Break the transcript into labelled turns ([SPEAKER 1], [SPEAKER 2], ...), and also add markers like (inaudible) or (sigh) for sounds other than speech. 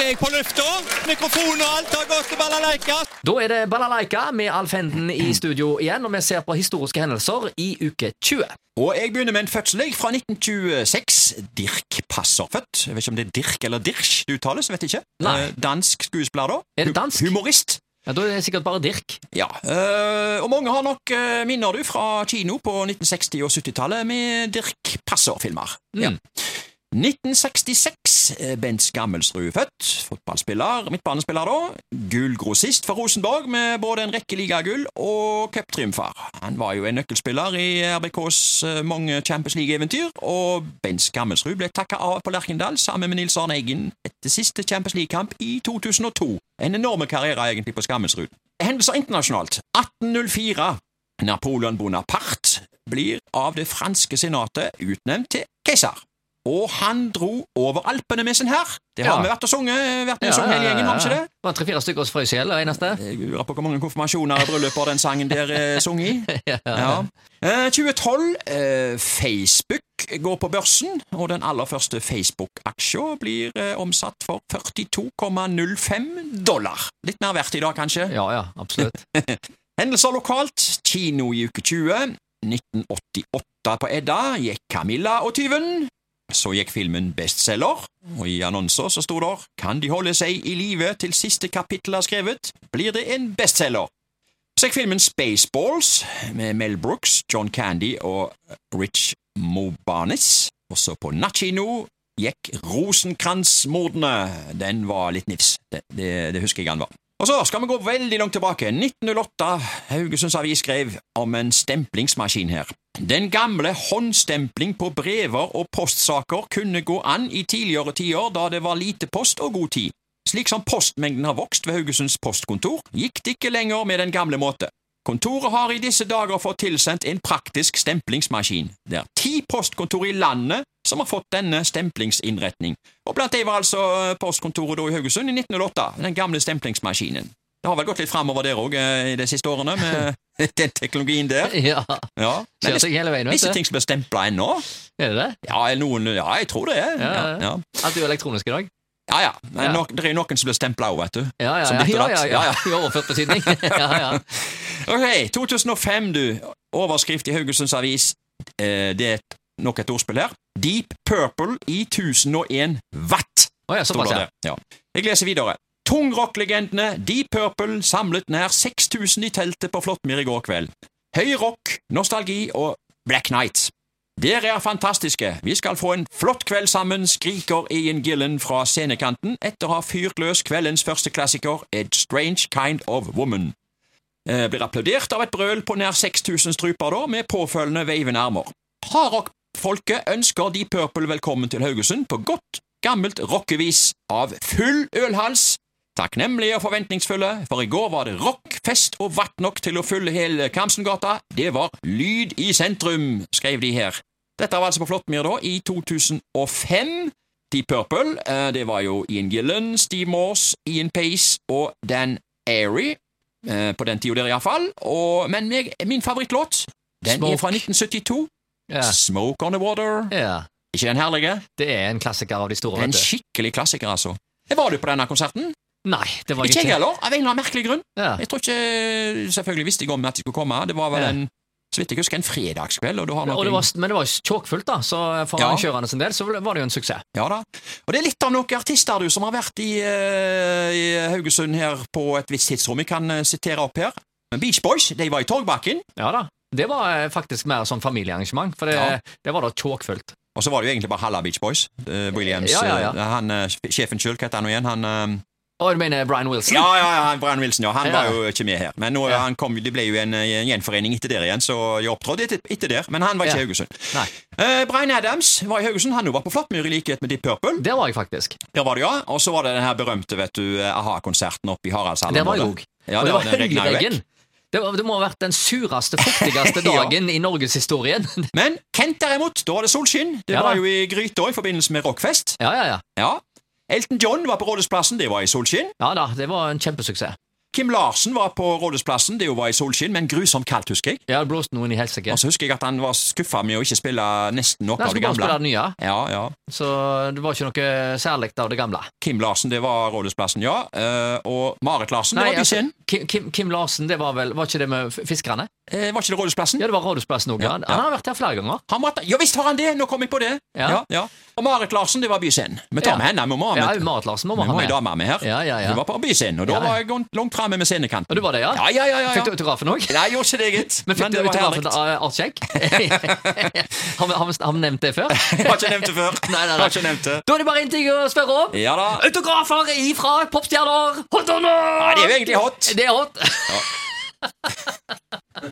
[SPEAKER 1] er jeg på lufta. Mikrofon og alt har gått til balalaika.
[SPEAKER 2] Da er det Balalaika med Alf Henden i studio igjen, og vi ser på historiske hendelser i uke 20.
[SPEAKER 1] Og jeg begynner med en fødsel jeg, fra 1926. Dirk Passer født. Jeg vet ikke om det er Dirk eller Dirch det uttales. jeg vet ikke.
[SPEAKER 2] Nei.
[SPEAKER 1] Eh, Dansk skuespiller, da.
[SPEAKER 2] Er det
[SPEAKER 1] Hu-
[SPEAKER 2] dansk?
[SPEAKER 1] Humorist.
[SPEAKER 2] Ja, Da er det sikkert bare Dirk.
[SPEAKER 1] Ja. eh, og mange har nok eh, minner du fra kino på 1960- og 70-tallet med Dirk Passer-filmer. Ja.
[SPEAKER 2] Mm.
[SPEAKER 1] 1966. eh, Bent Skammelsrud født. Fotballspiller, midtbanespiller da. Gullgrossist for Rosenborg med både en rekke ligagull og cuptriumfer. Han var jo en nøkkelspiller i RBKs eh, mange Champions League-eventyr, og Bent Skammelsrud ble takka av på Lerkendal sammen med Nils Arne Eggen etter siste Champions League-kamp i 2002. En enorme karriere egentlig på Skammelsrud. Hendelser internasjonalt. 1804. Napoleon Bonaparte blir av det franske senatet utnevnt til keiser. Og han dro over Alpene med sin hær. Det har
[SPEAKER 2] Ja.
[SPEAKER 1] vi vært og sunget, vært med og sunget hele gjengen, har vi ikke det?
[SPEAKER 2] Det var tre-fire stykker som frøs i hjel, og eneste.
[SPEAKER 1] Jeg lurer på hvor mange konfirmasjoner og brylluper den sangen der er sunget i.
[SPEAKER 2] Ja.
[SPEAKER 1] (laughs) Ja. Eh, 2012. Eh, Facebook går på børsen, og den aller første Facebook-aksja blir eh, omsatt for 42,05 dollar. Litt mer verdt i dag, kanskje?
[SPEAKER 2] ja, ja, absolutt.
[SPEAKER 1] Hendelser lokalt. Kino i uke 20. 1988 på Edda gikk Camilla og tyven. Så gikk filmen bestselger, og i annonser så sto der Kan de holde seg i live til siste kapittel er skrevet, blir det en bestselger. Så gikk filmen Spaceballs med Mel Brooks, John Candy og Rich Mobanis. Også på nattkino gikk Rosenkrantz-mordene. Den var litt nifs. Det, det, det husker jeg han var. Og så skal vi gå veldig langt tilbake. 1908. Haugesunds Avis skrev om en stemplingsmaskin her. Den gamle håndstempling på brever og postsaker kunne gå an i tidligere tider da det var lite post og god tid. Slik som postmengden har vokst ved Haugesunds postkontor, gikk det ikke lenger med den gamle måte. Kontoret har i disse dager fått tilsendt en praktisk stemplingsmaskin. Det er ti postkontor i landet som har fått denne stemplingsinnretning. Og blant dem var altså eh, postkontoret da i Haugesund i 1908, den gamle stemplingsmaskinen. Det har vel gått litt framover der òg i de siste årene,
[SPEAKER 2] (laughs)
[SPEAKER 1] med den teknologien der.
[SPEAKER 2] Ja,
[SPEAKER 1] (laughs) Ja. Men
[SPEAKER 2] Ser
[SPEAKER 1] visse-
[SPEAKER 2] seg hele veien, vet
[SPEAKER 1] visse
[SPEAKER 2] du.
[SPEAKER 1] ting som blir stempla ennå.
[SPEAKER 2] Er det det?
[SPEAKER 1] Ja, eller noen, ja, jeg tror det. er.
[SPEAKER 2] Ja, ja.
[SPEAKER 1] ja.
[SPEAKER 2] Alt er jo elektronisk i dag.
[SPEAKER 1] ja, ja. Men
[SPEAKER 2] Ja.
[SPEAKER 1] nok- det er jo noen som blir stempla òg, vet du.
[SPEAKER 2] Ja, ja,
[SPEAKER 1] Som
[SPEAKER 2] ja.
[SPEAKER 1] ditt og
[SPEAKER 2] ja,
[SPEAKER 1] datt.
[SPEAKER 2] ja,
[SPEAKER 1] Ja,
[SPEAKER 2] ja.
[SPEAKER 1] ja.
[SPEAKER 2] I overført
[SPEAKER 1] (laughs)
[SPEAKER 2] betydning. Ja, ja.
[SPEAKER 1] Ok, 2005, du. Overskrift i Haugesunds Avis. Eh, det er et- nok et ordspill her. Deep Purple i 1001 watt.
[SPEAKER 2] Å ja,
[SPEAKER 1] står
[SPEAKER 2] såpass,
[SPEAKER 1] det
[SPEAKER 2] ja.
[SPEAKER 1] der. Ja. Jeg leser videre. Tungrock-legendene Deep Purple samlet nær 6000 i teltet på Flåttmyr i går kveld. Høy rock, nostalgi og Black Night. Dere er fantastiske. Vi skal få en flott kveld sammen, skriker Ian Gillen fra scenekanten etter å ha fyrt løs kveldens første klassiker, A Strange Kind of Woman. Eh, blir applaudert av et brøl på nær 6000 struper da, med påfølgende veivende armer. Hardrock-folket ønsker Deep Purple velkommen til Haugesund på godt, gammelt rockevis av full ølhals. Takknemlige og forventningsfulle, for i går var det rock, fest og vatt nok til å fylle hele Kamsengata. Det var lyd i sentrum, skrev de her. Dette var altså på Flåttmyr da, i 2005. Deep Purple, eh, det var jo Ian Gillen, Steve Morse, Ian Pace og Dan Airy. Eh, på den tida der iallfall. Og, men meg, min favorittlåt den
[SPEAKER 2] Smoke.
[SPEAKER 1] er fra 1972.
[SPEAKER 2] Ja.
[SPEAKER 1] Smoke on the Water.
[SPEAKER 2] ja.
[SPEAKER 1] Ikke den herlige?
[SPEAKER 2] Det er en klassiker av de store,
[SPEAKER 1] En
[SPEAKER 2] vet du.
[SPEAKER 1] skikkelig klassiker, altså. Var du på denne konserten?
[SPEAKER 2] Nei, det var
[SPEAKER 1] Ikke jeg
[SPEAKER 2] ikke
[SPEAKER 1] heller, av en eller annen merkelig grunn.
[SPEAKER 2] Ja.
[SPEAKER 1] Jeg tror ikke Selvfølgelig visste jeg om at de skulle komme. Det var vel
[SPEAKER 2] Ja.
[SPEAKER 1] en så vidt jeg husker, en fredagskveld. Og du har nok
[SPEAKER 2] Og det
[SPEAKER 1] en-
[SPEAKER 2] var, men det var tjåkfullt, da, så for
[SPEAKER 1] Ja.
[SPEAKER 2] arrangørene sin del så var det jo en suksess.
[SPEAKER 1] Ja da. Og det er litt av noen artister du som har vært i, eh, i Haugesund her på et visst tidsrom. Jeg kan eh, sitere opp her. Men Beach Boys de var i Torgbakken,
[SPEAKER 2] Ja da. Det var eh, faktisk mer sånn familiearrangement, for det,
[SPEAKER 1] Ja.
[SPEAKER 2] det var da tjåkfullt.
[SPEAKER 1] og så var det jo egentlig bare Halla Beach Boys. eh, Williams,
[SPEAKER 2] Ja, ja, ja.
[SPEAKER 1] eh, han eh, sjefen sjøl, hva heter han nå igjen? Han eh,
[SPEAKER 2] Og du mener Brian Wilson?
[SPEAKER 1] Ja, ja, ja, han Brian Wilson, ja. Han
[SPEAKER 2] Ja.
[SPEAKER 1] var jo ikke med her. Men nå,
[SPEAKER 2] Ja.
[SPEAKER 1] han kom, det ble jo en, eh, en gjenforening etter der igjen, så jeg opptrådte etter, etter der. Men han var ikke i
[SPEAKER 2] Ja.
[SPEAKER 1] Haugesund.
[SPEAKER 2] Nei.
[SPEAKER 1] Eh, Brian Adams var i Haugesund. Han jo var på Flåttmyr i likhet med Deep Purple.
[SPEAKER 2] Der var jeg faktisk.
[SPEAKER 1] Der var det, ja. Og så var det den her berømte vet du, eh, a-ha-konserten oppe i Haraldshallen.
[SPEAKER 2] Der var jeg
[SPEAKER 1] det.
[SPEAKER 2] òg.
[SPEAKER 1] Ja,
[SPEAKER 2] og det var
[SPEAKER 1] den regnet jo vekk.
[SPEAKER 2] høyregn. Det, var- det må ha vært den sureste, fuktigste
[SPEAKER 1] (laughs) Ja.
[SPEAKER 2] dagen i norgeshistorien. (laughs)
[SPEAKER 1] Men Kent derimot, da var det solskinn. Det
[SPEAKER 2] Ja da.
[SPEAKER 1] var jo i gryta i forbindelse med rockfest.
[SPEAKER 2] ja, ja, ja.
[SPEAKER 1] Ja. Elton John var på Rådhusplassen. Det var i solskinn.
[SPEAKER 2] Ja da, det var en kjempesuksess.
[SPEAKER 1] Kim Larsen var på Rådhusplassen, det jo var i solskinn, men grusomt kaldt, husker jeg.
[SPEAKER 2] Jeg hadde blåst noen i helsike.
[SPEAKER 1] Og så husker jeg at han var skuffa med å ikke spille nesten noe
[SPEAKER 2] Nei,
[SPEAKER 1] av
[SPEAKER 2] så
[SPEAKER 1] det
[SPEAKER 2] bare spille
[SPEAKER 1] gamle.
[SPEAKER 2] det nye,
[SPEAKER 1] Ja, ja.
[SPEAKER 2] så det var ikke noe særlig av det gamle.
[SPEAKER 1] Kim Larsen, det var Rådhusplassen, ja. Eh, og Marit Larsen, det
[SPEAKER 2] Nei, altså-
[SPEAKER 1] var Bysinn.
[SPEAKER 2] Kim, Kim, Kim Larsen, det var vel Var ikke det med f- fiskerne?
[SPEAKER 1] Eh, var ikke det Rådhusplassen?
[SPEAKER 2] Ja, det var Rådhusplassen òg.
[SPEAKER 1] Ja,
[SPEAKER 2] Han
[SPEAKER 1] ja.
[SPEAKER 2] han har vært her flere ganger.
[SPEAKER 1] Han var, ja visst har han det, nå kom jeg på det.
[SPEAKER 2] Ja.
[SPEAKER 1] Ja, ja. Og Marit Larsen, det var Bysinn. Vi tar
[SPEAKER 2] Ja.
[SPEAKER 1] med henne, vi må ha
[SPEAKER 2] Ja,
[SPEAKER 1] med,
[SPEAKER 2] Marit Larsen må
[SPEAKER 1] vi
[SPEAKER 2] vi ha
[SPEAKER 1] må ha ei
[SPEAKER 2] med.
[SPEAKER 1] dame med her.
[SPEAKER 2] Ja, ja, ja.
[SPEAKER 1] Hun var på Bysinn, og da
[SPEAKER 2] Ja, ja.
[SPEAKER 1] var jeg gått langt framme med scenekanten.
[SPEAKER 2] Og du var det, ja?
[SPEAKER 1] Ja, ja, ja, ja,
[SPEAKER 2] Fikk du
[SPEAKER 1] ja.
[SPEAKER 2] autografen òg?
[SPEAKER 1] Nei, jeg gjorde ikke det, gitt.
[SPEAKER 2] Men fikk du
[SPEAKER 1] det var
[SPEAKER 2] autografen
[SPEAKER 1] herlig.
[SPEAKER 2] av Art Skjegg? (laughs) har, vi- har, vi- har vi nevnt
[SPEAKER 1] (laughs)
[SPEAKER 2] det før?
[SPEAKER 1] (laughs) Jeg har ikke nevnt det før.
[SPEAKER 2] Nei, nei, nei.
[SPEAKER 1] Jeg Har ikke nevnt det.
[SPEAKER 2] Da er det bare én ting å spørre om.
[SPEAKER 1] Ja da.
[SPEAKER 2] Autografer ifra popstjerner! Hot or not?
[SPEAKER 1] Nei, det er jo egentlig hot.
[SPEAKER 2] Det er hot.